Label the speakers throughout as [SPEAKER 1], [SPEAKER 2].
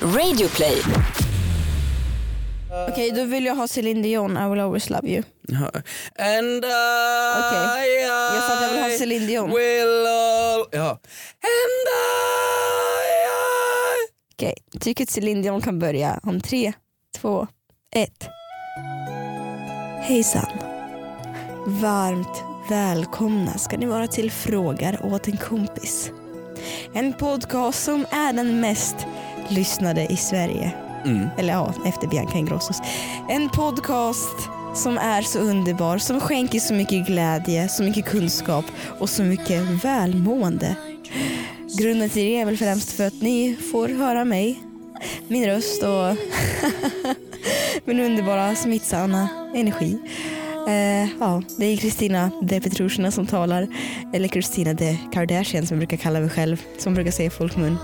[SPEAKER 1] Radioplay.
[SPEAKER 2] Okej, då vill jag ha Celine Dion, I will always love you.
[SPEAKER 3] And I,
[SPEAKER 2] Okej. Jag sa att jag vill ha Celine Dion.
[SPEAKER 3] Will all... Ja. And I, I...
[SPEAKER 2] Okej, tycker att Celine Dion kan börja om tre, två, ett. Hejsan. Varmt välkomna ska ni vara till Frågar åt en kompis. En podcast som är den mest lyssnade i Sverige.
[SPEAKER 3] Mm.
[SPEAKER 2] Eller ja, efter Bianca Ingrossos. En podcast som är så underbar, som skänker så mycket glädje, så mycket kunskap och så mycket välmående. Grunden till det är väl främst för att ni får höra mig, min röst och min underbara smittsamma energi. Eh, ja, det är Kristina de Petrushina som talar, eller Kristina de Kardashian som jag brukar kalla mig själv, som brukar säga i folkmun.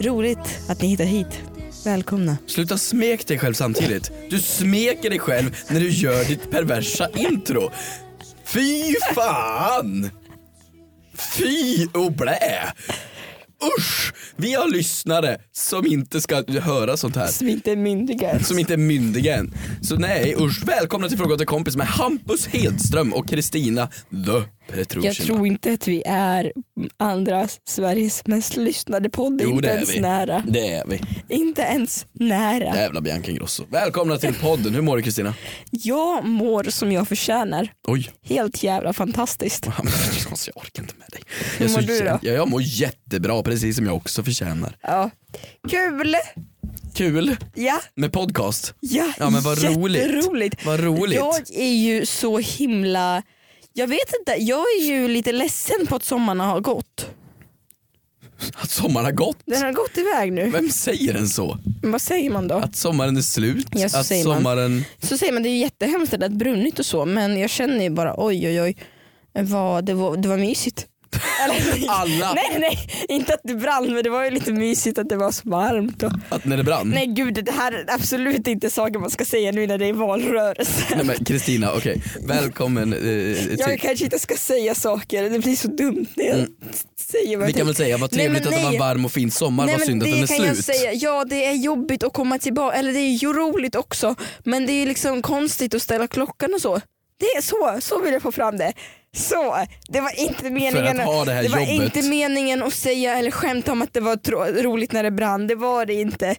[SPEAKER 2] Roligt att ni hittar hit. Välkomna.
[SPEAKER 3] Sluta smek dig själv samtidigt. Du smeker dig själv när du gör ditt perversa intro. Fy fan! Fy och blä! Usch! Vi har lyssnare som inte ska höra sånt här.
[SPEAKER 2] Som inte är myndiga ens.
[SPEAKER 3] Som inte är myndiga än. Så nej, usch. Välkomna till Fråga åt en kompis med Hampus Hedström och Kristina the Petrushina.
[SPEAKER 2] Jag tror inte att vi är andra Sveriges mest lyssnade podd.
[SPEAKER 3] Jo,
[SPEAKER 2] inte
[SPEAKER 3] det är
[SPEAKER 2] ens
[SPEAKER 3] vi.
[SPEAKER 2] nära.
[SPEAKER 3] Det är vi.
[SPEAKER 2] Inte ens nära.
[SPEAKER 3] Jävla Bianca Ingrosso. Välkomna till podden. Hur mår du Kristina?
[SPEAKER 2] Jag mår som jag förtjänar.
[SPEAKER 3] Oj.
[SPEAKER 2] Helt jävla fantastiskt.
[SPEAKER 3] Alltså, jag orkar inte med dig. Jag är
[SPEAKER 2] mår
[SPEAKER 3] så
[SPEAKER 2] du då?
[SPEAKER 3] jä- Jag, jag mår jättebra, precis som jag också förtjänar.
[SPEAKER 2] Ja. Kul!
[SPEAKER 3] Kul
[SPEAKER 2] Ja,
[SPEAKER 3] med podcast.
[SPEAKER 2] ja,
[SPEAKER 3] Ja, men vad roligt.
[SPEAKER 2] jätteroligt.
[SPEAKER 3] Vad roligt.
[SPEAKER 2] Jag är ju så himla... Jag vet inte, jag är ju lite ledsen på att sommaren har gått.
[SPEAKER 3] Att sommaren har gått.
[SPEAKER 2] Den har gått iväg nu.
[SPEAKER 3] Vem säger en så?
[SPEAKER 2] Men vad säger man då?
[SPEAKER 3] Att sommaren är slut?
[SPEAKER 2] Ja, så
[SPEAKER 3] att
[SPEAKER 2] säger man.
[SPEAKER 3] sommaren...
[SPEAKER 2] Så säger man det är ju jättehemskt att det har brunnit och så men jag känner ju bara oj oj oj vad det var, det var mysigt. Eller-
[SPEAKER 3] Alla.
[SPEAKER 2] Nej nej, inte att det brann men det var ju lite mysigt att det var så varmt. Och...
[SPEAKER 3] Att när det brann?
[SPEAKER 2] Nej gud det här är absolut inte saker man ska säga nu när det är valrörelse.
[SPEAKER 3] Nej, men Kristina, okej. Välkommen eh, till...
[SPEAKER 2] Jag kanske inte ska säga saker, det blir så dumt när jag säger vad
[SPEAKER 3] Mm. Vi
[SPEAKER 2] jag
[SPEAKER 3] kan väl säga vad
[SPEAKER 2] Typ. Nej, men
[SPEAKER 3] trevligt att det var
[SPEAKER 2] nej.
[SPEAKER 3] en varm och fin sommar,
[SPEAKER 2] Nej,
[SPEAKER 3] vad
[SPEAKER 2] men
[SPEAKER 3] synd att
[SPEAKER 2] det
[SPEAKER 3] den är
[SPEAKER 2] kan
[SPEAKER 3] slut.
[SPEAKER 2] Jag säga. Ja det är jobbigt att komma tillbaka, eller det är ju roligt också men det är liksom konstigt att ställa klockan och så. Det är så, så vill jag få fram det. Så, det var inte meningen
[SPEAKER 3] att ha det här
[SPEAKER 2] var
[SPEAKER 3] jobbet.
[SPEAKER 2] inte meningen att säga eller skämta om att det var tro- roligt när det brann, det var det inte.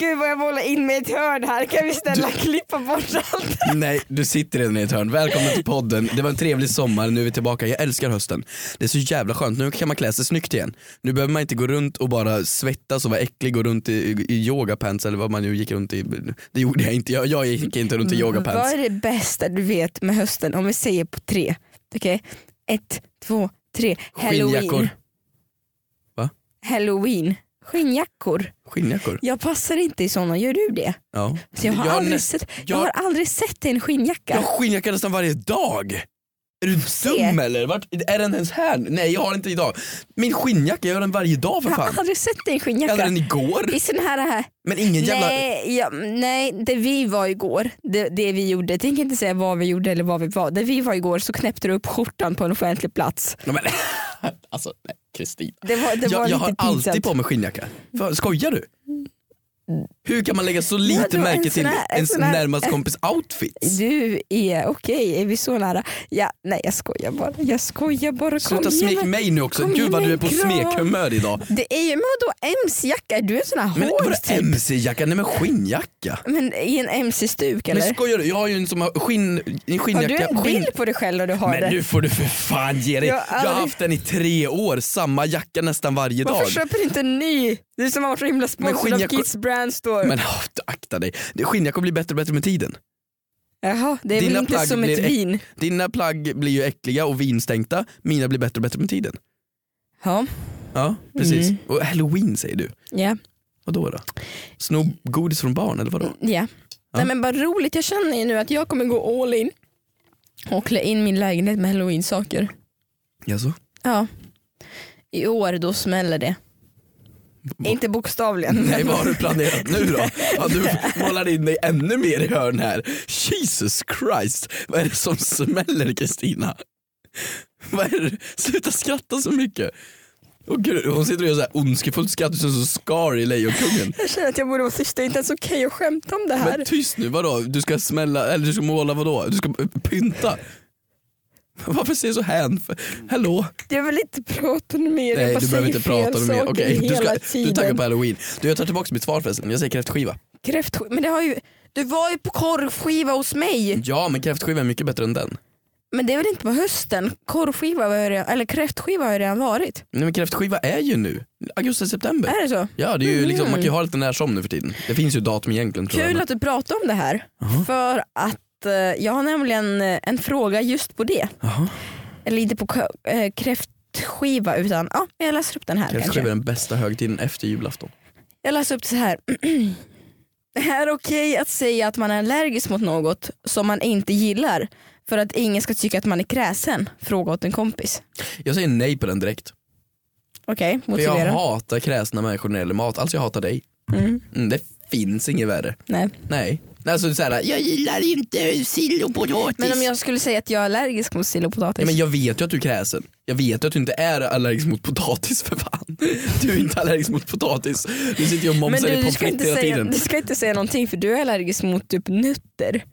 [SPEAKER 2] Gud vad jag målar in mig i ett hörn här, kan vi snälla klippa bort allt?
[SPEAKER 3] Nej, du sitter redan i ett hörn. Välkommen till podden. Det var en trevlig sommar, nu är vi tillbaka. Jag älskar hösten. Det är så jävla skönt, nu kan man klä sig snyggt igen. Nu behöver man inte gå runt och bara svettas och vara äcklig och runt i, i yogapants eller vad man nu gick runt i. Det gjorde jag inte, jag, jag gick inte runt i
[SPEAKER 2] Vad
[SPEAKER 3] yogapants.
[SPEAKER 2] är det bästa du vet med hösten om vi säger på tre? Okej, ett, två, tre. Halloween.
[SPEAKER 3] Skinnjackor.
[SPEAKER 2] Halloween. Skinnjackor.
[SPEAKER 3] Skinnjackor?
[SPEAKER 2] Jag passar inte i sådana, gör du det?
[SPEAKER 3] Ja.
[SPEAKER 2] Så jag, har
[SPEAKER 3] Jag har
[SPEAKER 2] aldrig
[SPEAKER 3] nä-
[SPEAKER 2] sett, jag...
[SPEAKER 3] jag-
[SPEAKER 2] har aldrig sett dig i en skinnjacka.
[SPEAKER 3] Jag har skinnjacka nästan varje dag. Är du dum eller? Vart, är den ens här? nu? Nej jag har den inte idag. Min skinnjacka, jag har den varje dag för
[SPEAKER 2] Jag
[SPEAKER 3] fan.
[SPEAKER 2] har aldrig sett dig i en
[SPEAKER 3] Jag hade
[SPEAKER 2] skinnjacka.
[SPEAKER 3] den igår.
[SPEAKER 2] I sån här... här.
[SPEAKER 3] Men ingen jävla...
[SPEAKER 2] Nej, ja, nej, det vi var igår, det, det vi gjorde, jag tänker inte säga vad vi gjorde eller vad vi var. Det vi var igår så knäppte du upp skjortan på en offentlig plats.
[SPEAKER 3] Nej, men, alltså nej, Kristina.
[SPEAKER 2] Det var, det var
[SPEAKER 3] Jag, jag
[SPEAKER 2] lite
[SPEAKER 3] har alltid
[SPEAKER 2] pinsamt.
[SPEAKER 3] på mig skinnjacka. För, skojar du? Hur kan man lägga så
[SPEAKER 2] Vadå,
[SPEAKER 3] lite
[SPEAKER 2] en
[SPEAKER 3] märke
[SPEAKER 2] sån
[SPEAKER 3] till
[SPEAKER 2] här- en
[SPEAKER 3] ens
[SPEAKER 2] sån här-
[SPEAKER 3] närmast kompis outfits?
[SPEAKER 2] Du är okej, är vi så nära? Ja, nej jag skojar bara. Jag skojar bara. Kom
[SPEAKER 3] Sluta
[SPEAKER 2] igen.
[SPEAKER 3] smek mig nu också,
[SPEAKER 2] Kom
[SPEAKER 3] gud vad
[SPEAKER 2] igen,
[SPEAKER 3] du är på
[SPEAKER 2] kram.
[SPEAKER 3] smekhumör idag.
[SPEAKER 2] Det är ju, men vadå MC-jacka? Är du en sån här
[SPEAKER 3] Men
[SPEAKER 2] hård
[SPEAKER 3] vadå
[SPEAKER 2] typ?
[SPEAKER 3] mc-jacka? Nej men skinnjacka.
[SPEAKER 2] Men i en MC-stuk eller?
[SPEAKER 3] Men skojar du? Jag har ju en, som har skinn, en
[SPEAKER 2] Har du
[SPEAKER 3] skinnjacka.
[SPEAKER 2] en
[SPEAKER 3] skinn-
[SPEAKER 2] bild på dig själv när du har det?
[SPEAKER 3] Men nu får du för fan ge dig.
[SPEAKER 2] Jag
[SPEAKER 3] Jag,
[SPEAKER 2] har
[SPEAKER 3] har
[SPEAKER 2] aldrig-
[SPEAKER 3] haft den i tre år, samma jacka nästan varje dag.
[SPEAKER 2] Varför köper du inte en ny? Du som har varit så himla sponsrad av
[SPEAKER 3] skinnjackor-
[SPEAKER 2] Kids Brand Store.
[SPEAKER 3] Men åh, akta dig, Det- skinnjackor blir bättre och bättre med tiden.
[SPEAKER 2] Jaha, det är väl
[SPEAKER 3] Dina
[SPEAKER 2] inte
[SPEAKER 3] plagg
[SPEAKER 2] som ett
[SPEAKER 3] blir äck-
[SPEAKER 2] vin?
[SPEAKER 3] Dina plagg blir ju äckliga och vinstänkta, mina blir bättre och bättre med tiden.
[SPEAKER 2] Ja,
[SPEAKER 3] Ja, precis.
[SPEAKER 2] Mm.
[SPEAKER 3] Och halloween säger du.
[SPEAKER 2] ja,
[SPEAKER 3] Vadå då? Sno godis från barn eller vadå?
[SPEAKER 2] ja. Nej men vad roligt, jag känner ju nu att jag kommer gå all in och klä in min lägenhet med halloween-saker.
[SPEAKER 3] Jaså?
[SPEAKER 2] Ja. I år då smäller det. Inte bokstavligen.
[SPEAKER 3] Nej
[SPEAKER 2] men-
[SPEAKER 3] vad har du planerat nu då? Ja, du målar in dig ännu mer i hörn här. Jesus Christ, vad är det som smäller Kristina? Vad är det? Sluta skratta så mycket. Och gud, hon sitter och gör så här ondskefullt skratt, som så Scar i Lejonkungen.
[SPEAKER 2] Jag känner att jag borde vara tyst, det är inte ens okej att skämta om det här.
[SPEAKER 3] Men tyst nu, vadå? Du ska smälla, eller du ska måla vadå? Du ska eh, pynta? Varför ser du så hänför? Hallå?
[SPEAKER 2] Jag vill inte prata om mer, jag
[SPEAKER 3] Nej
[SPEAKER 2] bara
[SPEAKER 3] du behöver
[SPEAKER 2] säger
[SPEAKER 3] inte prata
[SPEAKER 2] fel
[SPEAKER 3] om mer.
[SPEAKER 2] saker
[SPEAKER 3] Okej, du,
[SPEAKER 2] hela
[SPEAKER 3] ska- du
[SPEAKER 2] tiden.
[SPEAKER 3] är taggad på halloween. Du jag tar tillbaka mitt svar förresten, jag säger kräftskiva.
[SPEAKER 2] Kräftskiva, men det har ju, du var ju på korvskiva hos mig.
[SPEAKER 3] Ja men kräftskiva är mycket bättre än den.
[SPEAKER 2] Men det är väl inte på hösten? Korvskiva har ju redan, eller kräftskiva har ju redan varit.
[SPEAKER 3] Nej men kräftskiva är ju nu, augusti, september.
[SPEAKER 2] Är det så?
[SPEAKER 3] Ja det Eh, är ju liksom, man kan ju ha lite när som nu för tiden. Det finns ju datum egentligen tror jag.
[SPEAKER 2] Kul att du pratar om det här.
[SPEAKER 3] Jaha.
[SPEAKER 2] För att eh, jag har nämligen eh, en fråga just på det.
[SPEAKER 3] Jaha.
[SPEAKER 2] Eller inte på k- eh, kräftskiva utan ja, jag läser upp den här
[SPEAKER 3] Kräftskiva är
[SPEAKER 2] kanske.
[SPEAKER 3] den bästa högtiden efter julafton.
[SPEAKER 2] Jag läser upp det så här. Det är okej att säga att man är allergisk mot något som man inte gillar för att ingen ska tycka att man är kräsen? Fråga åt en kompis.
[SPEAKER 3] Jag säger nej på den direkt.
[SPEAKER 2] Okej,
[SPEAKER 3] För jag
[SPEAKER 2] motivera.
[SPEAKER 3] hatar kräsna människor när det gäller mat, alltså jag hatar dig.
[SPEAKER 2] Mm,
[SPEAKER 3] Mm, det finns inget värre.
[SPEAKER 2] nej.
[SPEAKER 3] Nej. Alltså såhär, jag gillar inte sill och potatis.
[SPEAKER 2] Men om jag skulle säga att jag är allergisk mot sill och potatis?
[SPEAKER 3] Ja, men jag vet ju att du är kräsen. Jag vet ju att du inte är allergisk mot potatis för fan. Du är inte allergisk mot potatis. Du sitter ju och
[SPEAKER 2] Men
[SPEAKER 3] momsar
[SPEAKER 2] du,
[SPEAKER 3] i
[SPEAKER 2] du,
[SPEAKER 3] pommes
[SPEAKER 2] ska
[SPEAKER 3] frites
[SPEAKER 2] inte
[SPEAKER 3] hela
[SPEAKER 2] säga,
[SPEAKER 3] tiden.
[SPEAKER 2] du ska inte säga någonting för du är allergisk mot typ nutter.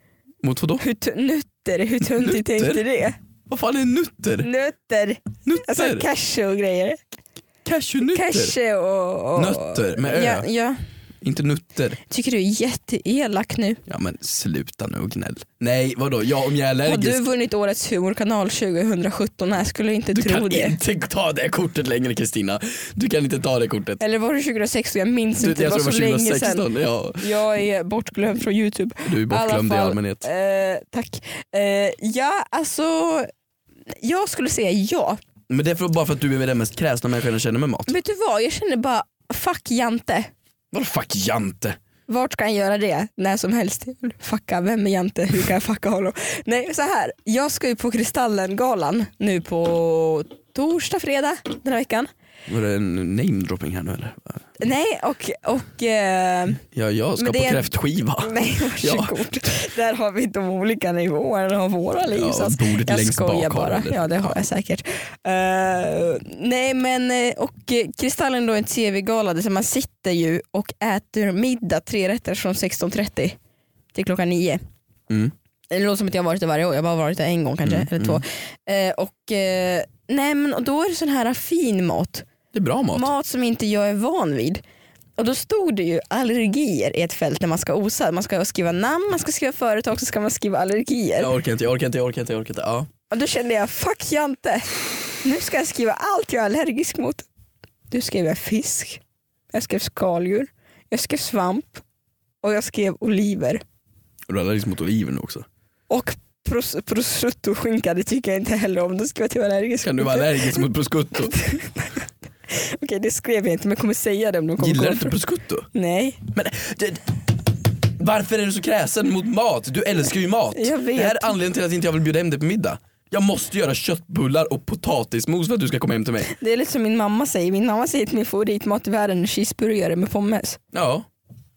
[SPEAKER 3] Mot vadå?
[SPEAKER 2] Hur t- nutter, hur töntigt
[SPEAKER 3] Nutter?
[SPEAKER 2] tänkte det?
[SPEAKER 3] Vad fan är nutter?
[SPEAKER 2] Nutter, alltså
[SPEAKER 3] Nutter?
[SPEAKER 2] cashew och grejer.
[SPEAKER 3] Cashewnutter?
[SPEAKER 2] Cashew och, och...
[SPEAKER 3] Nötter med ö.
[SPEAKER 2] Ja, ja.
[SPEAKER 3] Inte nutter.
[SPEAKER 2] Tycker du är jätteelak nu.
[SPEAKER 3] Ja men sluta nu och gnäll. Nej vadå, ja om jag är
[SPEAKER 2] Har
[SPEAKER 3] allergisk.
[SPEAKER 2] du vunnit årets humorkanal 2017? Nej, jag skulle inte
[SPEAKER 3] Du
[SPEAKER 2] tro
[SPEAKER 3] kan
[SPEAKER 2] det.
[SPEAKER 3] inte ta det kortet längre Kristina. Du kan inte ta det kortet.
[SPEAKER 2] Eller var det 2016? Jag minns
[SPEAKER 3] Du, jag
[SPEAKER 2] inte, det
[SPEAKER 3] tror
[SPEAKER 2] var
[SPEAKER 3] det
[SPEAKER 2] så
[SPEAKER 3] var
[SPEAKER 2] länge sedan.
[SPEAKER 3] 2016. Ja,
[SPEAKER 2] Jag är bortglömd från Youtube.
[SPEAKER 3] du är bortglömd i
[SPEAKER 2] fall,
[SPEAKER 3] allmänhet.
[SPEAKER 2] Eh, tack. Eh, ja, alltså. Jag skulle säga ja.
[SPEAKER 3] Men det är för, bara för att du är den mest kräsna människan jag känner med mat.
[SPEAKER 2] Vet du vad, jag känner bara fuck Jante.
[SPEAKER 3] Vadå fuck Jante?
[SPEAKER 2] Vart kan jag göra det? När som helst. Fucka, vem är Jante? Hur kan jag fucka honom? Nej, så här. Jag ska ju på Kristallengalan nu på torsdag, fredag den här veckan.
[SPEAKER 3] Var det en namedropping här nu eller?
[SPEAKER 2] Nej, och, och eh,
[SPEAKER 3] Ja, jag ska
[SPEAKER 2] Men det
[SPEAKER 3] på
[SPEAKER 2] är-
[SPEAKER 3] kräftskiva.
[SPEAKER 2] nej varsågod. Där har vi de olika nivåerna av våra liv.
[SPEAKER 3] Ja,
[SPEAKER 2] så att-
[SPEAKER 3] bordet
[SPEAKER 2] jag
[SPEAKER 3] längst
[SPEAKER 2] skojar
[SPEAKER 3] bak har
[SPEAKER 2] bara.
[SPEAKER 3] du det.
[SPEAKER 2] Ja det har jag säkert. Eh, nej men eh, och eh, Kristallen då är en tv-gala där man sitter ju och äter middag tre rätter från 16.30 till klockan 9.
[SPEAKER 3] Mm.
[SPEAKER 2] Det låter som att jag har varit där varje år, jag har bara varit där en gång kanske
[SPEAKER 3] Mm,
[SPEAKER 2] eller två. Eh, och, eh, nej, men, och då är det sån här fin mat.
[SPEAKER 3] Det är bra mat.
[SPEAKER 2] Mat som inte jag är van vid. Och då stod det ju allergier i ett fält när man ska osa. Man ska skriva namn, man ska skriva företag, så ska man skriva allergier.
[SPEAKER 3] Jag orkar inte, jag orkar inte, jag orkar inte. Jag orkar inte. Ja.
[SPEAKER 2] Och då kände jag, fuck Jante. Nu ska jag skriva allt jag är allergisk mot. Du skrev jag fisk, jag skrev skaldjur, jag skrev svamp och jag skrev oliver.
[SPEAKER 3] Och du är allergisk mot oliver nu också.
[SPEAKER 2] Och pros- prosciutto-skinka, det tycker jag inte heller om. Då skrev jag att jag är allergisk
[SPEAKER 3] Kan du
[SPEAKER 2] mot
[SPEAKER 3] vara
[SPEAKER 2] det.
[SPEAKER 3] allergisk mot prosciutto?
[SPEAKER 2] Okej, det skrev jag inte men jag kommer säga det om de kommer
[SPEAKER 3] Gillar du
[SPEAKER 2] komma
[SPEAKER 3] inte
[SPEAKER 2] fram-
[SPEAKER 3] prosciutto?
[SPEAKER 2] Nej,
[SPEAKER 3] Men det, varför är du så kräsen mot mat? Du älskar ju mat.
[SPEAKER 2] Jag vet.
[SPEAKER 3] Det här är anledningen till att inte jag vill bjuda hem dig på middag. Jag måste göra köttbullar och potatismos för att du ska komma hem till mig.
[SPEAKER 2] det är lite som min mamma säger. Min mamma säger att min favoritmat i världen är cheeseburgare med pommes
[SPEAKER 3] Ja,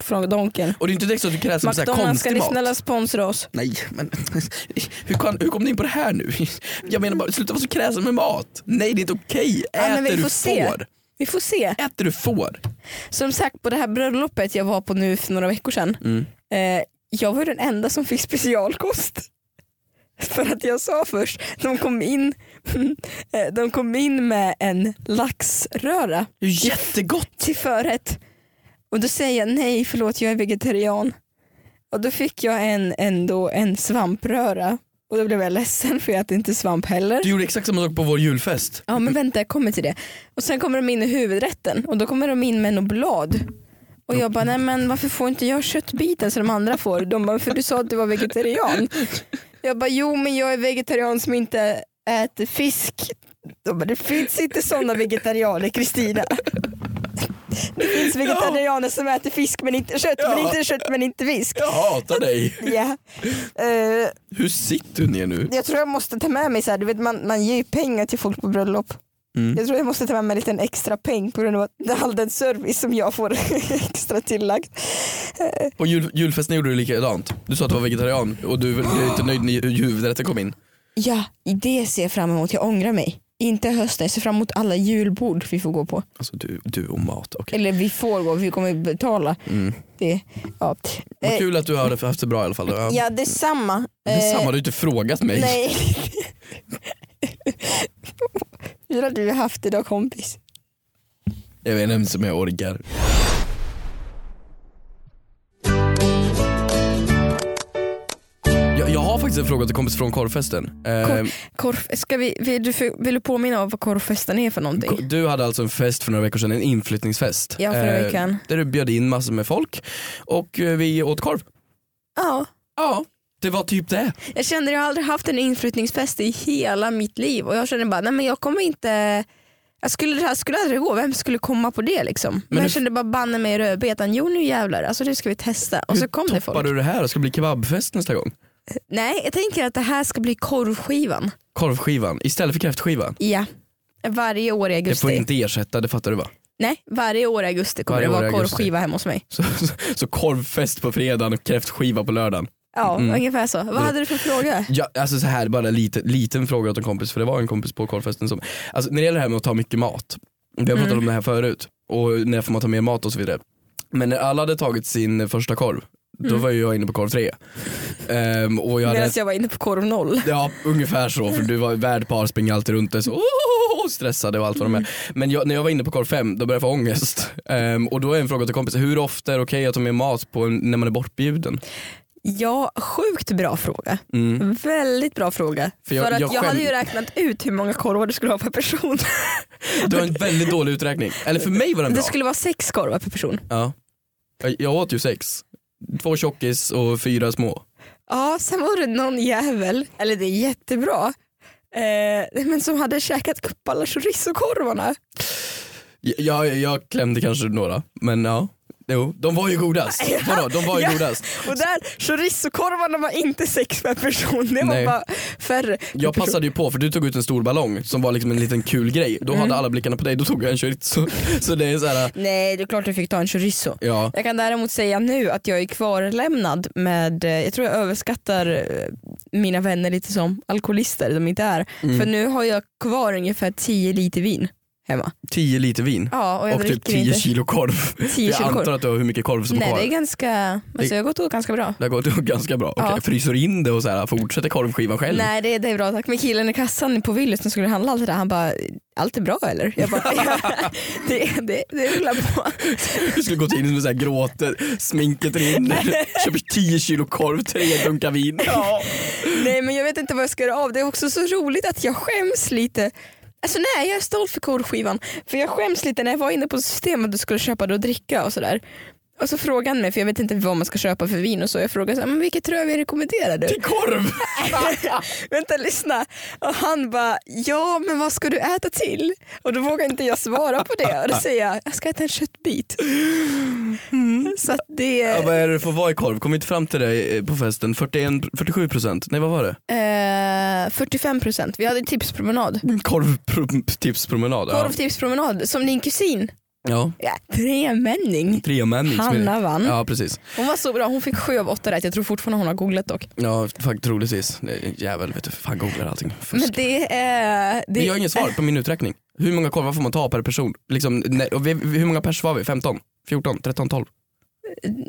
[SPEAKER 2] från Donken.
[SPEAKER 3] och det är inte direkt så att du är kräsen på så här
[SPEAKER 2] McDonalds ska
[SPEAKER 3] konstig
[SPEAKER 2] ni
[SPEAKER 3] mat.
[SPEAKER 2] snälla sponsra oss.
[SPEAKER 3] Nej, men hur, kan, hur kom ni in på det här nu? Jag menar bara, sluta vara så kräsen med mat. Nej, det är inte okej.
[SPEAKER 2] Ja, men
[SPEAKER 3] Äter
[SPEAKER 2] vi
[SPEAKER 3] du
[SPEAKER 2] får se.
[SPEAKER 3] får.
[SPEAKER 2] Vi får se.
[SPEAKER 3] Äter du får.
[SPEAKER 2] Som sagt på det här bröllopet jag var på nu för några veckor sedan.
[SPEAKER 3] Mm.
[SPEAKER 2] Eh, jag var den enda som fick specialkost. För att jag sa först, de kom in, eh, de kom in med en laxröra
[SPEAKER 3] Det är ju jättegott.
[SPEAKER 2] till förrätt. Och då säger jag nej förlåt jag är vegetarian. Och då fick jag en, en, då, en svampröra och då blev jag ledsen för jag äter inte svamp heller.
[SPEAKER 3] Du gjorde exakt samma sak på vår julfest.
[SPEAKER 2] Ja men vänta jag kommer till det. Och sen kommer de in i huvudrätten och då kommer de in med något blad. Och jag bara, nej men varför får inte jag köttbiten som de andra får? De bara, för du sa att du var vegetarian. Jag bara, jo men jag är vegetarian som inte äter fisk. De bara, det finns inte sådana vegetarianer Kristina. Det finns vegetarianer som äter fisk men inte kött, men
[SPEAKER 3] Ja.
[SPEAKER 2] inte kött men inte fisk.
[SPEAKER 3] Jag hatar dig.
[SPEAKER 2] Ja. Eh,
[SPEAKER 3] Hur sitter du ner nu?
[SPEAKER 2] jag tror jag måste ta med mig, så här, du vet, man, man ger ju pengar till folk på bröllop.
[SPEAKER 3] Mm.
[SPEAKER 2] Jag tror jag måste ta med mig en liten extra peng på grund av att all den service som jag får extra tillagt.
[SPEAKER 3] På jul, julfesten gjorde du likadant. Du sa att du var vegetarian och du blev inte nöjd när huvudrätten kom in.
[SPEAKER 2] Ja, det ser jag fram emot. Jag ångrar mig. Inte hösten, jag ser fram emot alla julbord vi får gå på.
[SPEAKER 3] Alltså du, du och mat, okej. Mm.
[SPEAKER 2] Eller vi får gå, vi kommer betala. Det, ja.
[SPEAKER 3] Vad
[SPEAKER 2] Eh,
[SPEAKER 3] kul att du har haft det bra i alla fall. då.
[SPEAKER 2] ja detsamma.
[SPEAKER 3] Det är
[SPEAKER 2] Eh,
[SPEAKER 3] samma, du har inte frågat mig.
[SPEAKER 2] Nej. Hur har du haft det då kompis?
[SPEAKER 3] Jag vet inte ens om jag orkar. Jag, jag har faktiskt en fråga till kompis från korvfesten. Eh,
[SPEAKER 2] Kor- Korf, ska vi, vill, du, för- vill du påminna om vad korvfesten är för någonting?
[SPEAKER 3] ko- du hade alltså en fest för några veckor sedan, en inflyttningsfest. Eh,
[SPEAKER 2] Ja, förra veckan.
[SPEAKER 3] Där du bjöd in massor med folk och eh, vi åt korv.
[SPEAKER 2] ja.
[SPEAKER 3] Ja, det var typ det.
[SPEAKER 2] Jag kände jag har aldrig haft en inflyttningsfest i hela mitt liv och jag kände bara nej men jag kommer inte jag skulle, det här skulle aldrig gå, vem skulle komma på det liksom? Men,
[SPEAKER 3] hur-
[SPEAKER 2] jag kände bara banne mig i rödbetan, jo nu jävlar, alltså nu ska vi testa. Och så kom det
[SPEAKER 3] Bara
[SPEAKER 2] folk.
[SPEAKER 3] du det här, det ska bli kebabfest nästa gång.
[SPEAKER 2] Nej jag tänker att det här ska bli korvskivan.
[SPEAKER 3] Korvskivan istället för kräftskivan.
[SPEAKER 2] Ja. Varje år i
[SPEAKER 3] Det får
[SPEAKER 2] augusti.
[SPEAKER 3] inte ersätta, det fattar du va?
[SPEAKER 2] Nej, varje år i augusti kommer
[SPEAKER 3] Varje
[SPEAKER 2] det
[SPEAKER 3] år i
[SPEAKER 2] vara
[SPEAKER 3] augusti.
[SPEAKER 2] korvskiva hemma hos mig.
[SPEAKER 3] Så, så, så korvfest på fredagen och kräftskiva på lördagen.
[SPEAKER 2] Ja,
[SPEAKER 3] Mm.
[SPEAKER 2] ungefär så. Vad hade du för fråga?
[SPEAKER 3] Ja, alltså så här, bara en liten, liten fråga åt en kompis, för det var en kompis på korvfesten som, alltså när det gäller det här med att ta mycket mat, vi har pratat om det här förut, och när får man ta mer mat och så vidare. Men när alla hade tagit sin första korv, då var ju jag inne på korv tre. Ehm, och jag hade,
[SPEAKER 2] Medan jag var inne på korv noll.
[SPEAKER 3] Ja ungefär så, för du var värdpar, springer alltid runt och så oh, stressade och allt vad de är. Men jag, när jag var inne på korv fem, då började jag få ångest. Ehm, och då är en fråga till kompis, hur ofta är det okej att ta med mat på en, när man är bortbjuden? Mm.
[SPEAKER 2] Ja, sjukt bra fråga. Väldigt bra fråga. För,
[SPEAKER 3] För jag-
[SPEAKER 2] att
[SPEAKER 3] jag
[SPEAKER 2] jag,
[SPEAKER 3] skäm-
[SPEAKER 2] hade ju räknat ut hur många korvar det skulle vara per person.
[SPEAKER 3] Du har en väldigt dålig uträkning, eller för mig var den
[SPEAKER 2] Det
[SPEAKER 3] bra.
[SPEAKER 2] skulle vara sex korvar per person.
[SPEAKER 3] Ja. Jag- Jag åt ju sex. Två tjockis och fyra små.
[SPEAKER 2] Ja, sen var det någon jävel, eller det är jättebra, eh, men som hade käkat upp alla chorizo-korvarna.
[SPEAKER 3] Jag, jag, jag klämde kanske några, men ja. Jo, de var ju godast. Vadå, de var ju
[SPEAKER 2] Ja.
[SPEAKER 3] godast.
[SPEAKER 2] Och där, chorizo-korvarna var inte sex per person, det var
[SPEAKER 3] Nej.
[SPEAKER 2] bara färre. per
[SPEAKER 3] Jag
[SPEAKER 2] person.
[SPEAKER 3] passade ju på för du tog ut en stor ballong som var liksom en liten kul grej. Då
[SPEAKER 2] Mm.
[SPEAKER 3] hade alla blickarna på dig, då tog jag en chorizo. Så det är så här,
[SPEAKER 2] Nej, det är klart du fick ta en chorizo.
[SPEAKER 3] ja.
[SPEAKER 2] Jag kan däremot säga nu att jag är kvarlämnad med, eh, jag tror jag överskattar eh, mina vänner lite som alkoholister de inte är. För nu har jag kvar ungefär 10 liter vin hemma.
[SPEAKER 3] 10 liter vin
[SPEAKER 2] Ja, och jag
[SPEAKER 3] och typ
[SPEAKER 2] dricker
[SPEAKER 3] 10
[SPEAKER 2] inte.
[SPEAKER 3] kilo korv.
[SPEAKER 2] 10
[SPEAKER 3] Jag
[SPEAKER 2] kilo korv.
[SPEAKER 3] antar att du har hur mycket korv som är
[SPEAKER 2] Nej
[SPEAKER 3] kvar.
[SPEAKER 2] det är ganska, alltså jag har gått åt ganska bra.
[SPEAKER 3] Det har gått ganska bra. Okej,
[SPEAKER 2] Ja.
[SPEAKER 3] Fryser du in det och så här, fortsätter korvskivan själv?
[SPEAKER 2] Nej det, det är bra tack. Men killen i kassan på Willys som skulle handla allt det där han bara, allt är bra eller? Jag bara, ja, det, det, det rullar på.
[SPEAKER 3] Du skulle gått in med så här gråter, sminket rinner, köper 10 kilo korv, tre dunkar vin. Ja.
[SPEAKER 2] Nej men jag vet inte vad jag ska göra av det. är också så roligt att jag skäms lite. Alltså nej jag är stolt för korvskivan. För jag skäms lite när jag var inne på systemet och skulle köpa det och dricka och sådär. Och så frågade han mig, för jag vet inte vad man ska köpa för vin och så. Jag frågade så här, men vilket rödvin rekommenderar du?
[SPEAKER 3] Till korv!
[SPEAKER 2] Vänta lyssna. Och han bara, ja men vad ska du äta till? Och då vågar inte jag svara på det. Och då säger jag, jag ska äta en köttbit. Så att det,
[SPEAKER 3] Ja, vad är det för vad är korv? Kom inte fram till det eh, på festen. 41, 47 procent? Nej vad var det?
[SPEAKER 2] eh, 45 procent. Vi hade tipspromenad.
[SPEAKER 3] Korvtipspromenad. Ja.
[SPEAKER 2] Korvtipspromenad som din kusin.
[SPEAKER 3] ja.
[SPEAKER 2] Ja, tremänning.
[SPEAKER 3] Tremänning. som är-
[SPEAKER 2] Hanna vann.
[SPEAKER 3] Ja precis.
[SPEAKER 2] Hon var så bra, hon fick sju av åtta rätt. Jag tror fortfarande hon har googlat dock.
[SPEAKER 3] Ja faktiskt troligtvis. Nej, Jävel vet du, fan googlar allting. Fusk.
[SPEAKER 2] Men det är...
[SPEAKER 3] Men
[SPEAKER 2] Det,
[SPEAKER 3] jag har inget svar på min uträkning. Hur många korvar får man ta per person? Liksom, när- och vi, vi- hur många pers var vi? 15? 14? 13? 12?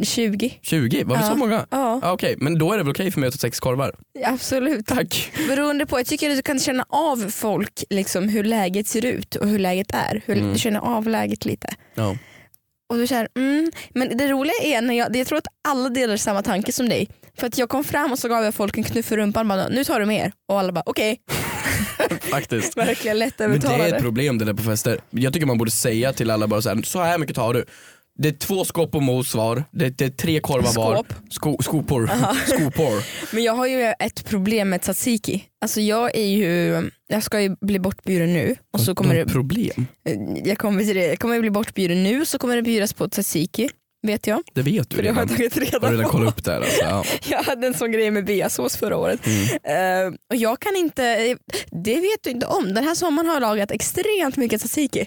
[SPEAKER 2] 20.
[SPEAKER 3] 20? Var vi så
[SPEAKER 2] Ja.
[SPEAKER 3] många?
[SPEAKER 2] Ja,
[SPEAKER 3] Ja, Okej, men då är det väl okej för mig att ta sex korvar?
[SPEAKER 2] absolut.
[SPEAKER 3] Tack.
[SPEAKER 2] Beroende på, jag tycker att du kan känna av folk liksom, hur läget ser ut och hur läget är. Hur,
[SPEAKER 3] Mm.
[SPEAKER 2] Du känner av läget lite.
[SPEAKER 3] Ja.
[SPEAKER 2] Och du känner, mm. Men det roliga är, när jag, jag tror att alla delar samma tanke som dig. För att jag kom fram och så gav jag folk en knuff i rumpan bara, nu tar du med er. Och alla bara okej,
[SPEAKER 3] Faktiskt.
[SPEAKER 2] verkligen
[SPEAKER 3] Men det är ett
[SPEAKER 2] lättövertalade.
[SPEAKER 3] problem det där på fester. Jag tycker man borde säga till alla bara så här, så här mycket tar du. Det är två skåp och mos var, det, det är tre korvar var.
[SPEAKER 2] Skåp.
[SPEAKER 3] Sko, skopor. skopor.
[SPEAKER 2] Men jag har ju ett problem med tzatziki. Alltså jag är ju, jag ska ju bli bortbjuden nu och så kommer det, eh,
[SPEAKER 3] problem?
[SPEAKER 2] jag kommer till det, jag kommer bli bortbjuden nu så kommer det bjudas på tzatziki. Vet jag,
[SPEAKER 3] Det vet du
[SPEAKER 2] för det har
[SPEAKER 3] redan.
[SPEAKER 2] jag tagit reda
[SPEAKER 3] Har du redan
[SPEAKER 2] på.
[SPEAKER 3] kollat upp det här alltså? Ja.
[SPEAKER 2] Jag hade en sån grej med beasås förra året.
[SPEAKER 3] Mm.
[SPEAKER 2] Eh, och jag kan inte, eh, det vet du inte om. Den här sommaren har jag lagat extremt mycket tzatziki.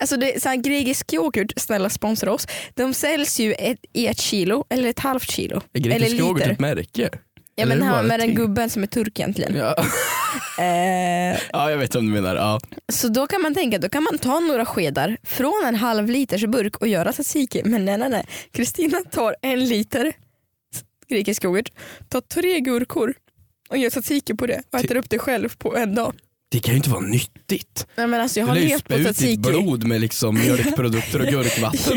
[SPEAKER 2] Alltså det är så här grekisk yoghurt, snälla sponsra oss. De säljs ju ett, i ett kilo eller ett halvt kilo.
[SPEAKER 3] Är
[SPEAKER 2] eller
[SPEAKER 3] grekisk yoghurt
[SPEAKER 2] liter.
[SPEAKER 3] ett märke?
[SPEAKER 2] Ja
[SPEAKER 3] Eller
[SPEAKER 2] men
[SPEAKER 3] är det
[SPEAKER 2] han
[SPEAKER 3] bara
[SPEAKER 2] med den
[SPEAKER 3] ting?
[SPEAKER 2] gubben som är turk egentligen.
[SPEAKER 3] Ja.
[SPEAKER 2] Eh,
[SPEAKER 3] ja, jag vet vad du menar. Ja.
[SPEAKER 2] så då kan man tänka, då kan man ta några skedar från en halv liters burk och göra tzatziki. Men nej nej nej. Kristina tar en liter grekisk yoghurt, tar tre gurkor och gör tzatziki på det och äter upp det själv på en dag.
[SPEAKER 3] Det kan ju inte vara nyttigt.
[SPEAKER 2] Nej men alltså jag
[SPEAKER 3] Du
[SPEAKER 2] har
[SPEAKER 3] lär ju
[SPEAKER 2] levt
[SPEAKER 3] spä
[SPEAKER 2] på
[SPEAKER 3] ut ditt
[SPEAKER 2] tzatziki.
[SPEAKER 3] blod med liksom mjölkprodukter och gurkvatten.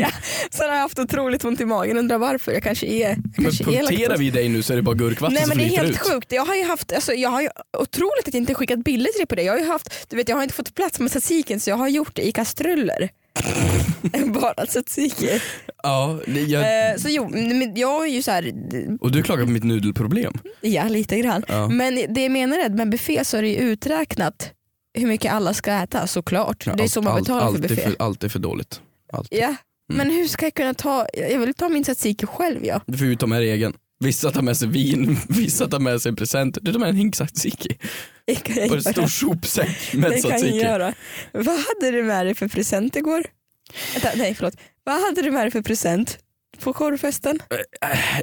[SPEAKER 2] Ja, sen har jag haft otroligt ont i magen, undrar varför. Jag kanske är jag
[SPEAKER 3] Men
[SPEAKER 2] kanske är
[SPEAKER 3] punkterar
[SPEAKER 2] laktos-
[SPEAKER 3] vi dig nu så är det bara gurkvatten
[SPEAKER 2] Nej
[SPEAKER 3] som
[SPEAKER 2] men det är
[SPEAKER 3] flyter
[SPEAKER 2] helt
[SPEAKER 3] ut.
[SPEAKER 2] sjukt. Jag har ju haft, alltså, jag har ju otroligt att jag inte skickat bilder till dig på det. Jag har ju haft, du vet jag har inte fått plats med tzatzikin så jag har gjort det i kastruller. Bara tzatziki.
[SPEAKER 3] Ja, det, jag,
[SPEAKER 2] Eh, så jo, men jag är ju så här,
[SPEAKER 3] och du klagar på mitt nudelproblem. Mm.
[SPEAKER 2] ja lite grann.
[SPEAKER 3] Ja.
[SPEAKER 2] Men det jag menar är att med buffé så är det ju uträknat hur mycket alla ska äta såklart. det är så man betalar för
[SPEAKER 3] allt,
[SPEAKER 2] buffé.
[SPEAKER 3] Är för, Mm. allt är för dåligt. Allt.
[SPEAKER 2] Ja. Men hur ska jag kunna ta, jag vill ta min tzatziki själv ja.
[SPEAKER 3] Du får ju ta med dig egen. Vissa tar med sig vin, vissa tar med sig presenter. Du tar med en hink tzatziki
[SPEAKER 2] Det kan jag
[SPEAKER 3] och en
[SPEAKER 2] göra.
[SPEAKER 3] stor sopsäck med
[SPEAKER 2] det kan jag
[SPEAKER 3] tzatziki.
[SPEAKER 2] göra. Vad hade du med dig för present igår? Vänta, nej förlåt. Vad hade du med dig för present på korvfesten?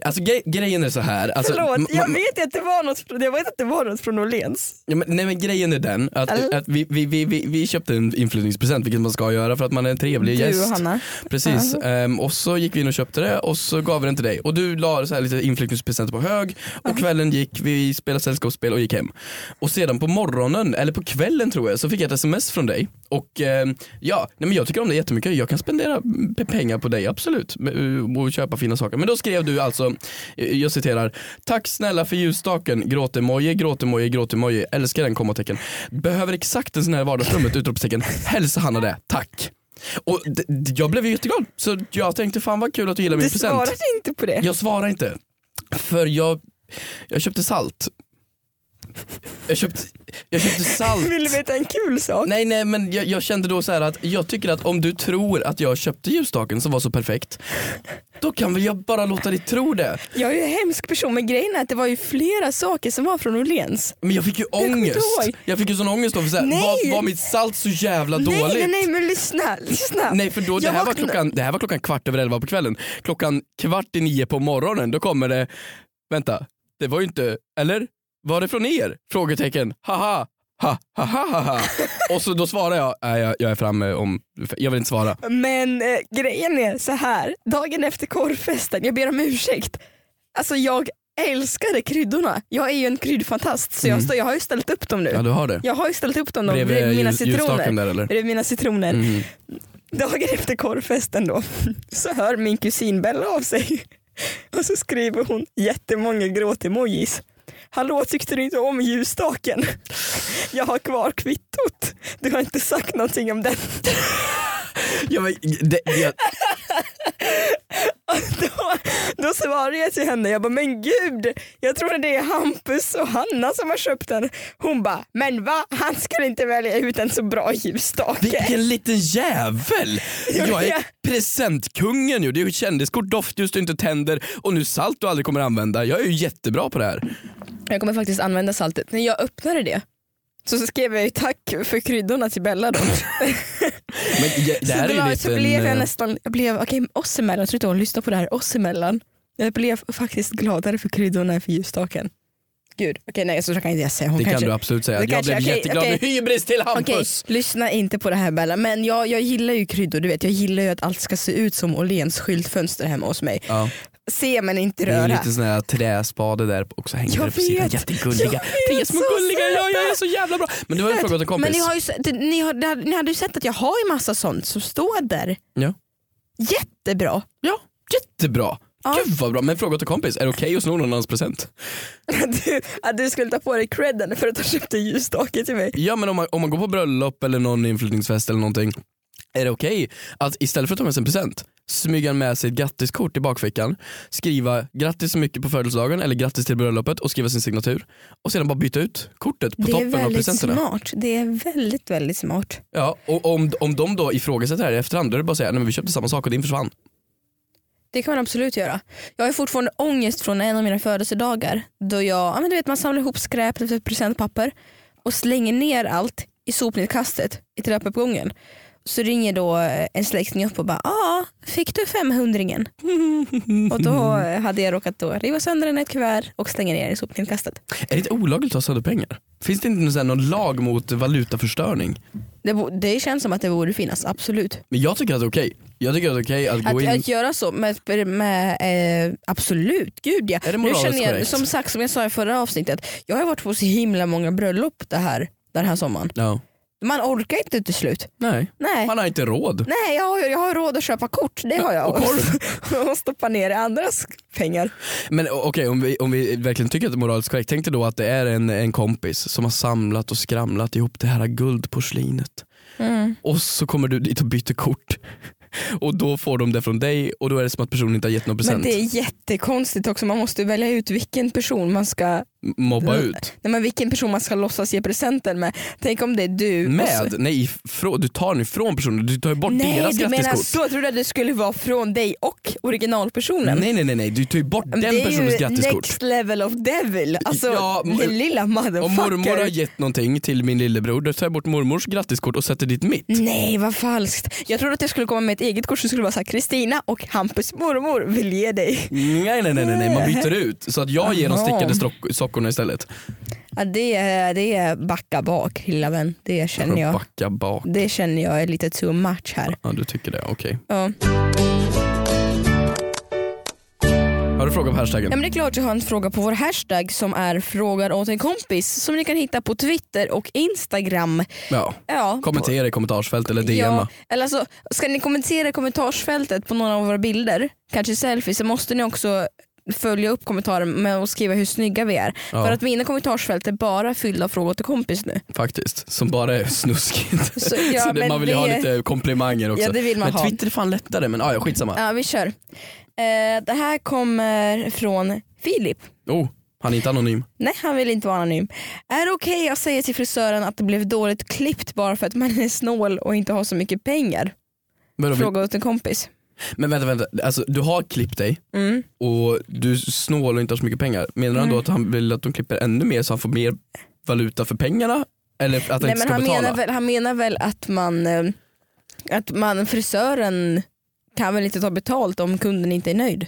[SPEAKER 3] Alltså gre- grejen är så här. Alltså,
[SPEAKER 2] förlåt, jag
[SPEAKER 3] ma-
[SPEAKER 2] vet ju att det var något, från- jag vet att det var något från Åhléns.
[SPEAKER 3] Ja, men, nej men grejen är den att,
[SPEAKER 2] Eller?
[SPEAKER 3] att vi, vi, vi, vi, vi köpte en inflyttningspresent vilket man ska göra för att man är en trevlig
[SPEAKER 2] Du och
[SPEAKER 3] gäst.
[SPEAKER 2] Hanna.
[SPEAKER 3] Precis, Ehm, och så gick vi in och köpte det och så gav vi den till dig och du la så här lite inflyttningspresent på hög och kvällen gick, vi spelade sällskapsspel och gick hem. Och sedan på morgonen, eller på kvällen tror jag, så fick jag ett sms från dig och ehm, ja, nej men jag tycker om det jättemycket, jag kan spendera mm, pe- pengar på dig absolut m- eh, och köpa fina saker. Men då skrev du alltså, eh, jag citerar, tack snälla för ljusstaken, gråtemoji, gråtemoji, gråtemoji, älskar den kommatecken. Behöver exakt en sån här i vardagsrummet, utropstecken, hälsa Hanna det, tack. Och d- d- jag blev ju jätteglad så jag tänkte fan vad kul att du gillar min
[SPEAKER 2] Du
[SPEAKER 3] present.
[SPEAKER 2] svarade inte på det.
[SPEAKER 3] Jag svarar inte. För jag, jag köpte salt. Jag köpte, jag köpte salt.
[SPEAKER 2] Vill du veta en kul sak?
[SPEAKER 3] Nej nej men jag, jag kände då så här att jag tycker att om du tror att jag köpte ljusstaken som var så perfekt. Då kan väl jag bara låta dig tro det.
[SPEAKER 2] Jag är ju en hemsk person men grejen är att det var ju flera saker som var från Åhléns.
[SPEAKER 3] Men jag fick ju
[SPEAKER 2] kommer inte
[SPEAKER 3] ångest.
[SPEAKER 2] ihåg.
[SPEAKER 3] Jag fick ju sån ångest då för så här,
[SPEAKER 2] Nej.
[SPEAKER 3] var, var mitt salt så jävla
[SPEAKER 2] Nej,
[SPEAKER 3] dåligt?
[SPEAKER 2] nej nej men lyssna. lyssna.
[SPEAKER 3] Nej för då, det,
[SPEAKER 2] Jag
[SPEAKER 3] här var
[SPEAKER 2] vaknade-
[SPEAKER 3] klockan, det här var klockan kvart över elva på kvällen. Klockan kvart i nio på morgonen då kommer det, vänta, det var ju inte, eller? Var det från er? Frågetecken, haha, ha, ha, ha, ha, ha. Och så då svarar jag, nej jag, jag är framme om, jag vill inte svara.
[SPEAKER 2] Men eh, grejen är så här. dagen efter korvfesten, jag ber om ursäkt. Alltså jag älskade kryddorna. Jag är ju en kryddfantast så jag, står- jag har ju ställt upp dem nu.
[SPEAKER 3] Mm. Ja du har det.
[SPEAKER 2] Jag har ju ställt upp dem då,
[SPEAKER 3] Bredvid
[SPEAKER 2] bredvid mina
[SPEAKER 3] ljus- ljusstaken
[SPEAKER 2] citroner.
[SPEAKER 3] där eller?
[SPEAKER 2] Bredvid mina citroner.
[SPEAKER 3] Mm.
[SPEAKER 2] Dagen efter korvfesten då så hör min kusin Bella av sig och så skriver hon jättemånga gråtemojis. Hallå tyckte du inte om ljusstaken? Jag har kvar kvittot. Du har inte sagt någonting om den.
[SPEAKER 3] Ja, men, det, jag,
[SPEAKER 2] då, då svarade jag till henne, jag bara men gud, jag tror det är Hampus och Hanna som har köpt den. Hon bara, men va, han skulle inte välja ut en så bra ljusstake.
[SPEAKER 3] vilken liten jävel!
[SPEAKER 2] Ja,
[SPEAKER 3] Jag
[SPEAKER 2] ja.
[SPEAKER 3] är presentkungen ju. Det är ju kändiskort, doftljus du inte tänder och nu salt du aldrig kommer använda. Jag är ju jättebra på det här.
[SPEAKER 2] Jag kommer faktiskt använda saltet. När jag öppnade det så skrev jag ju tack för kryddorna till Bella då.
[SPEAKER 3] Men jag, det
[SPEAKER 2] så
[SPEAKER 3] här
[SPEAKER 2] det
[SPEAKER 3] är ju
[SPEAKER 2] var,
[SPEAKER 3] lite
[SPEAKER 2] så blev jag
[SPEAKER 3] en, eh,
[SPEAKER 2] nästan, jag blev, okej oss emellan, jag tror inte hon lyssnar på det här, oss emellan. Jag blev faktiskt gladare för kryddorna än för ljusstaken. Gud, okej nej så kan inte jag säga. Hon
[SPEAKER 3] Det kan
[SPEAKER 2] kanske,
[SPEAKER 3] du absolut säga.
[SPEAKER 2] det
[SPEAKER 3] Jag
[SPEAKER 2] kanske-
[SPEAKER 3] blev
[SPEAKER 2] okej,
[SPEAKER 3] jätteglad med hybris till
[SPEAKER 2] Okej,
[SPEAKER 3] Hampus.
[SPEAKER 2] lyssna inte på det här Bella. Men jag, jag gillar ju kryddor, du vet. Jag gillar ju att allt ska se ut som Åhléns skyltfönster hemma hos mig.
[SPEAKER 3] Ja,
[SPEAKER 2] Se men inte
[SPEAKER 3] det är en
[SPEAKER 2] röra.
[SPEAKER 3] liten sån här träspade där och så hänger
[SPEAKER 2] Jag
[SPEAKER 3] det på sidan.
[SPEAKER 2] vet. Jag
[SPEAKER 3] Jättegulliga.
[SPEAKER 2] vet,
[SPEAKER 3] Tre små
[SPEAKER 2] så
[SPEAKER 3] gulliga, ja, jag är
[SPEAKER 2] söta.
[SPEAKER 3] så jävla bra. Men du har ju frågat en kompis.
[SPEAKER 2] Men ni, har ju, se- det- ni, har, det hade- ni hade ju sett att jag har ju massa sånt som står där.
[SPEAKER 3] Ja.
[SPEAKER 2] Jättebra.
[SPEAKER 3] Ja, jättebra.
[SPEAKER 2] Ja.
[SPEAKER 3] Gud vad bra, men fråga till kompis, är det okej att sno någon annans present?
[SPEAKER 2] Du, att du skulle ta på dig credden för att ha köpt en ljusstake till mig.
[SPEAKER 3] Ja men om man, om man går på bröllop eller någon inflyttningsfest eller någonting, är det okej att istället för att ta med sig en present, smyga med sig ett grattiskort i bakfickan, skriva grattis så mycket på födelsedagen eller grattis till bröllopet och skriva sin signatur och sedan bara byta ut kortet på
[SPEAKER 2] Det är
[SPEAKER 3] toppen av
[SPEAKER 2] väldigt
[SPEAKER 3] presenterna.
[SPEAKER 2] smart. Det är väldigt, väldigt smart.
[SPEAKER 3] Ja, och om, om de då ifrågasätter det här i efterhand då är det bara att säga nej men vi köpte samma sak och din försvann.
[SPEAKER 2] Det kan man absolut göra. Jag har ju fortfarande ångest från en av mina födelsedagar då jag, ja, men du vet man samlar ihop skräp typ efter ett presentpapper och slänger ner allt i sopnedkastet i trappuppgången. Så ringer då eh, en släkting upp och bara ah, fick du 500 Och då eh, hade jag råkat då riva sönder den i ett kuvert och slänga ner i sopnedkastet.
[SPEAKER 3] Är det inte olagligt att ta sönder pengar? Finns det inte någon, sån här, någon lag mot valutaförstöring?
[SPEAKER 2] Det, bo- det känns som att det borde finnas, absolut.
[SPEAKER 3] Men jag tycker att det är okej. Jag tycker att det är okej att gå
[SPEAKER 2] Att,
[SPEAKER 3] in.
[SPEAKER 2] att göra så, med, med, eh, absolut, gud ja.
[SPEAKER 3] Är
[SPEAKER 2] nu
[SPEAKER 3] det moraliskt
[SPEAKER 2] känner jag,
[SPEAKER 3] korrekt?
[SPEAKER 2] som sagt, som jag sa i förra avsnittet, jag har varit på så himla många bröllop det här, den här sommaren.
[SPEAKER 3] Ja.
[SPEAKER 2] Man orkar inte till slut.
[SPEAKER 3] Nej,
[SPEAKER 2] Nej.
[SPEAKER 3] man har inte råd.
[SPEAKER 2] Nej, jag har, jag har råd att köpa kort, det har jag.
[SPEAKER 3] Och
[SPEAKER 2] korv. Och stoppa ner i andras pengar.
[SPEAKER 3] Men o- okej, om, vi, om vi verkligen tycker att det är moraliskt korrekt, tänk dig då att det är en, en kompis som har samlat och skramlat ihop det här guldporslinet.
[SPEAKER 2] Mm.
[SPEAKER 3] Och så kommer du dit och byter kort. Och då får de det från dig och då är det som att personen inte har gett någon
[SPEAKER 2] Men
[SPEAKER 3] present.
[SPEAKER 2] det är jättekonstigt också, man måste välja ut vilken person man ska
[SPEAKER 3] M- Mobba ut.
[SPEAKER 2] nej, men vilken person man ska låtsas ge presenten med. Tänk om det är du. och så-
[SPEAKER 3] Med? Nej, ifrån, du tar den ifrån personen, du tar ju bort
[SPEAKER 2] Nej
[SPEAKER 3] deras
[SPEAKER 2] du menar
[SPEAKER 3] grattiskort.
[SPEAKER 2] så, jag trodde att det skulle vara från dig och originalpersonen.
[SPEAKER 3] Nej nej nej, nej. du tar ju bort
[SPEAKER 2] Men
[SPEAKER 3] den personens
[SPEAKER 2] Det är ju
[SPEAKER 3] grattiskort.
[SPEAKER 2] next level of devil, alltså
[SPEAKER 3] Ja, m-
[SPEAKER 2] den lilla
[SPEAKER 3] Om mormor har
[SPEAKER 2] motherfucker.
[SPEAKER 3] gett någonting till min lillebror, då tar jag bort mormors grattiskort och sätter dit mitt.
[SPEAKER 2] Nej vad falskt. Jag trodde att jag skulle komma med ett eget kort som skulle vara såhär Kristina och Hampus mormor vill ge dig.
[SPEAKER 3] Nej nej nej, nej, nej. man byter ut så att jag ger de
[SPEAKER 2] Jaha.
[SPEAKER 3] stickade strock- sockorna istället.
[SPEAKER 2] Ja, det, är, det är backa bak lilla vän, det känner jag.
[SPEAKER 3] Backa bak.
[SPEAKER 2] Det känner jag är lite too much här.
[SPEAKER 3] Ja du tycker det, okej.
[SPEAKER 2] Ja.
[SPEAKER 3] Har du frågat på hashtaggen?
[SPEAKER 2] Ja, men det är klart jag har en fråga på vår hashtag som är frågar åt en kompis som ni kan hitta på Twitter och Instagram.
[SPEAKER 3] Ja.
[SPEAKER 2] Ja,
[SPEAKER 3] Kommentera i kommentarsfält eller DMa.
[SPEAKER 2] Ja, eller alltså, ska ni kommentera i kommentarsfältet på några av våra bilder, kanske selfies, så måste ni också följa upp kommentaren med att skriva hur snygga vi är.
[SPEAKER 3] Ja.
[SPEAKER 2] För att mina kommentarsfält är bara fyllda av frågor till kompis nu.
[SPEAKER 3] Faktiskt, som bara är snuskigt.
[SPEAKER 2] Så, ja,
[SPEAKER 3] så det,
[SPEAKER 2] men
[SPEAKER 3] man vill ju
[SPEAKER 2] det-
[SPEAKER 3] ha lite komplimanger också.
[SPEAKER 2] Ja, det vill man
[SPEAKER 3] men
[SPEAKER 2] ha.
[SPEAKER 3] Twitter är fan lättare men ah, ja, skitsamma.
[SPEAKER 2] Ja, vi kör. Eh, det här kommer från Filip.
[SPEAKER 3] Oh, han är inte anonym.
[SPEAKER 2] Nej, han vill inte vara anonym. Är det okej att säga till frisören att det blev dåligt klippt bara för att man är snål och inte har så mycket pengar?
[SPEAKER 3] Men, då,
[SPEAKER 2] Fråga åt en kompis.
[SPEAKER 3] men vänta, vänta. Alltså, du har klippt dig
[SPEAKER 2] Mm.
[SPEAKER 3] och du är snål och inte har så mycket pengar. Menar han då att han vill att de klipper ännu mer så han får mer valuta för pengarna? Eller att han
[SPEAKER 2] Nej,
[SPEAKER 3] inte
[SPEAKER 2] men
[SPEAKER 3] ska
[SPEAKER 2] han,
[SPEAKER 3] betala?
[SPEAKER 2] menar väl, han menar väl att man, eh, att man frisören kan väl inte ta betalt om kunden inte är nöjd.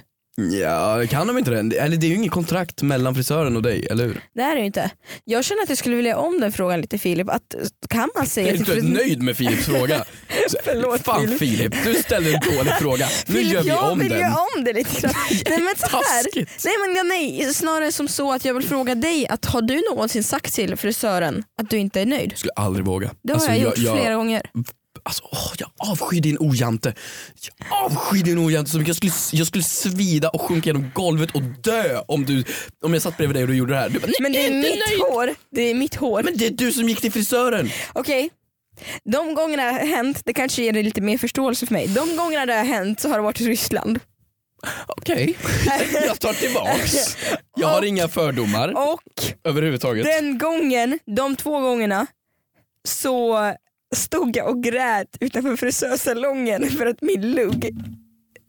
[SPEAKER 3] Ja, kan de inte det? Eller det är ju inget kontrakt mellan frisören och dig, eller hur?
[SPEAKER 2] Det är det ju inte. Jag känner att jag skulle vilja om den frågan lite Filip. Att, eh, kan man
[SPEAKER 3] Jag
[SPEAKER 2] säga
[SPEAKER 3] är
[SPEAKER 2] till
[SPEAKER 3] inte
[SPEAKER 2] frisören...
[SPEAKER 3] nöjd med Filips fråga. Så,
[SPEAKER 2] Förlåt,
[SPEAKER 3] Fan
[SPEAKER 2] Filip.
[SPEAKER 3] Filip, du ställde en dålig fråga. Nu
[SPEAKER 2] Filip,
[SPEAKER 3] gör vi
[SPEAKER 2] jag
[SPEAKER 3] om
[SPEAKER 2] vill
[SPEAKER 3] den.
[SPEAKER 2] göra om det lite grann. nej, men så här.
[SPEAKER 3] Taskigt.
[SPEAKER 2] nej men ja, nej, snarare som så att jag vill fråga dig att har du någonsin sagt till frisören att du inte är nöjd?
[SPEAKER 3] Jag skulle aldrig våga. Alltså,
[SPEAKER 2] Det har jag gjort
[SPEAKER 3] jag,
[SPEAKER 2] flera gånger.
[SPEAKER 3] Alltså, åh, jag avskyr din ojante. Jag avskyr din ojante så mycket. Jag skulle, jag skulle svida och sjunka genom golvet och dö om, du, om jag satt bredvid dig och du gjorde det här. Du bara,
[SPEAKER 2] Men det är
[SPEAKER 3] inte
[SPEAKER 2] mitt
[SPEAKER 3] nöjd.
[SPEAKER 2] hår. Det är mitt hår.
[SPEAKER 3] Men det är du som gick till frisören.
[SPEAKER 2] Okej. De gångerna det har hänt, det kanske ger dig lite mer förståelse för mig. De gångerna det har hänt så har det varit i Ryssland.
[SPEAKER 3] Okej, jag tar tillbaks. Jag har inga fördomar
[SPEAKER 2] Och
[SPEAKER 3] överhuvudtaget.
[SPEAKER 2] den gången, de två gångerna, så stod jag och grät utanför frisörsalongen för att min lugg,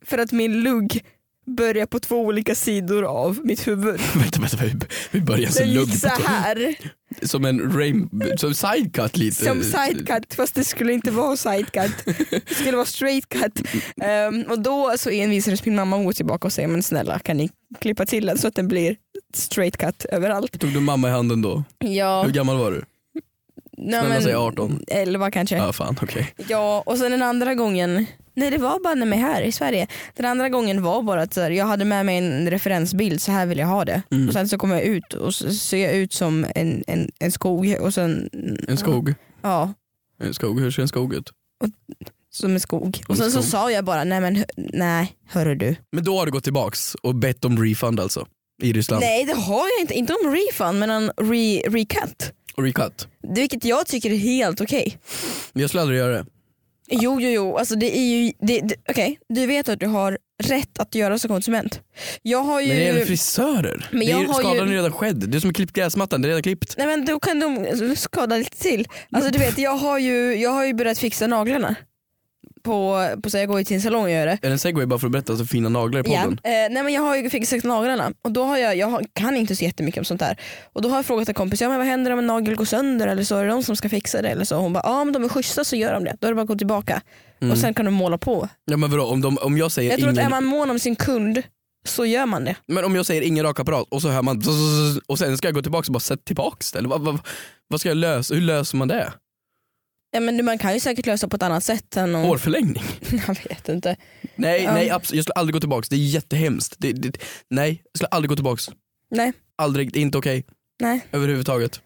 [SPEAKER 2] för att min lugg började på två olika sidor av mitt huvud.
[SPEAKER 3] Vänta, vänta, vi, vi börjar så
[SPEAKER 2] Den
[SPEAKER 3] lugnt.
[SPEAKER 2] gick så här
[SPEAKER 3] Som en rain, som sidecut lite.
[SPEAKER 2] som sidecut fast det skulle inte vara sidecut. Det skulle vara straight cut. Ehm, och då så envisades min mamma att gå tillbaka och säga men snälla kan ni klippa till den så att den blir straight cut överallt.
[SPEAKER 3] Tog du mamma i handen då?
[SPEAKER 2] Ja,
[SPEAKER 3] Hur gammal var du?
[SPEAKER 2] nej,
[SPEAKER 3] Snälla säg 18.
[SPEAKER 2] 11 kanske.
[SPEAKER 3] Ja, fan okej.
[SPEAKER 2] Ja, och sen den andra gången, nej det var banne mig här i Sverige. Den andra gången var bara att så här, jag hade med mig en referensbild, så här vill jag ha det.
[SPEAKER 3] Mm.
[SPEAKER 2] Och sen så kom jag ut och så ser jag ut som en, en, en skog och sen,
[SPEAKER 3] En skog.
[SPEAKER 2] ja,
[SPEAKER 3] En skog, hur ser en skog ut?
[SPEAKER 2] som en skog.
[SPEAKER 3] En
[SPEAKER 2] Och sen så
[SPEAKER 3] skog.
[SPEAKER 2] sa jag bara, nej men hö- nej, hörru du.
[SPEAKER 3] Men då har du gått tillbaks och bett om refund alltså? I Ryssland?
[SPEAKER 2] Nej det har jag inte, inte om refund men en re, recut.
[SPEAKER 3] Och recut?
[SPEAKER 2] Vilket jag tycker är helt okej.
[SPEAKER 3] Jag skulle aldrig göra det.
[SPEAKER 2] Jo, jo, jo. Alltså, det är ju, det, det, okej. Du vet att du har rätt att göra som konsument. Jag har ju...
[SPEAKER 3] Men det gäller frisörer.
[SPEAKER 2] Mm. Men
[SPEAKER 3] det är,
[SPEAKER 2] jag
[SPEAKER 3] ju-
[SPEAKER 2] har ju-
[SPEAKER 3] skadan är redan skedd. Du som har klippt gräsmattan, det är redan klippt.
[SPEAKER 2] Nej men då kan de skada lite till. Alltså du vet jag har ju, jag har ju börjat fixa naglarna. på, på så jag går ju till en salong och gör det.
[SPEAKER 3] Är det en segway bara för att berätta så fina naglar i
[SPEAKER 2] Ja.
[SPEAKER 3] podden?
[SPEAKER 2] Eh, nej men jag har ju fixat naglarna och då har jag, jag har- kan inte så jättemycket om sånt där. Och då har jag frågat en kompis, ja, men vad händer om en nagel går sönder eller så är det de som ska fixa det eller så. Hon bara, ja om de är schyssta så gör de det. Då är det bara att gå tillbaka och sen kan de måla på.
[SPEAKER 3] Ja men vadå, om, de, om jag säger
[SPEAKER 2] Jag tror
[SPEAKER 3] ingen...
[SPEAKER 2] att är man mån om sin kund så gör man det.
[SPEAKER 3] Men om jag säger ingen rakapparat och så hör man zzzz, och sen ska jag gå tillbaka och bara sätta tillbaks det? Eller vad, vad, vad ska jag lösa? Hur löser man det?
[SPEAKER 2] Ja, men man kan ju säkert lösa på ett annat sätt än om...
[SPEAKER 3] Hårförlängning?
[SPEAKER 2] Jag vet inte.
[SPEAKER 3] Nej,
[SPEAKER 2] Mm. Ja.
[SPEAKER 3] nej absolut. jag skulle aldrig gå tillbaks. Det är jättehemskt. Det, det, nej, jag skulle aldrig gå tillbaks.
[SPEAKER 2] Nej,
[SPEAKER 3] Aldrig, det är inte okej.
[SPEAKER 2] nej.
[SPEAKER 3] Överhuvudtaget.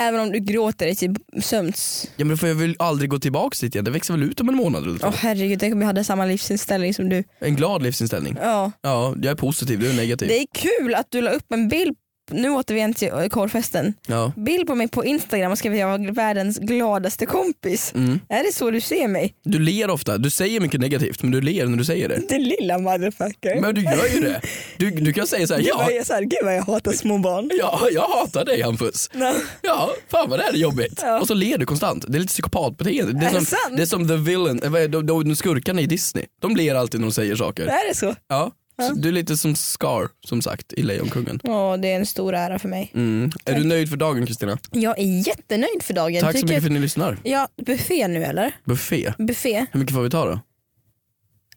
[SPEAKER 2] Även om du gråter dig till sömns.
[SPEAKER 3] Ja men för jag vill aldrig gå tillbaks dit igen. Det växer väl ut om en månad eller
[SPEAKER 2] Åh
[SPEAKER 3] två.
[SPEAKER 2] herregud, tänk om jag hade samma livsinställning som du.
[SPEAKER 3] En glad livsinställning.
[SPEAKER 2] Ja.
[SPEAKER 3] Ja, jag är positiv, du är negativ.
[SPEAKER 2] Det är kul att du la upp en bild, nu återigen till eh, korfesten,
[SPEAKER 3] Ja.
[SPEAKER 2] bild på mig på Instagram och skrev att jag var världens gladaste kompis.
[SPEAKER 3] Mm.
[SPEAKER 2] Är det så du ser mig?
[SPEAKER 3] Du ler ofta, du säger mycket negativt men du ler när du säger det.
[SPEAKER 2] Den lilla motherfucker.
[SPEAKER 3] Men du gör ju det. Du, du kan säga så här,
[SPEAKER 2] Gud,
[SPEAKER 3] ja,
[SPEAKER 2] vad jag, så här, gud vad jag hatar små barn.
[SPEAKER 3] ja, jag hatar dig Hampus.
[SPEAKER 2] Nej.
[SPEAKER 3] Ja, fan vad det här är jobbigt.
[SPEAKER 2] Ja.
[SPEAKER 3] Och så ler du konstant. Det är lite psykopatbeteende. Det
[SPEAKER 2] Är det
[SPEAKER 3] är, som,
[SPEAKER 2] sant?
[SPEAKER 3] det är som the villain, eh, vad är de, de, de skurkarna i Disney. De ler alltid när de säger saker.
[SPEAKER 2] Är det så?
[SPEAKER 3] Ja. Så du är lite som Scar som sagt i Lejonkungen.
[SPEAKER 2] Ja, det är en stor ära för mig.
[SPEAKER 3] Mm. Är du nöjd för dagen Kristina?
[SPEAKER 2] Jag är jättenöjd för dagen.
[SPEAKER 3] Mm. Tack så
[SPEAKER 2] Tycker-
[SPEAKER 3] mycket för att ni lyssnar.
[SPEAKER 2] Ja, buffé nu eller?
[SPEAKER 3] Buffé.
[SPEAKER 2] Buffé,
[SPEAKER 3] Hur mycket får vi ta då?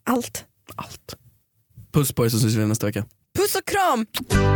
[SPEAKER 2] allt.
[SPEAKER 3] Allt. Puss på er så syns vi nästa vecka.
[SPEAKER 2] Puss och kram!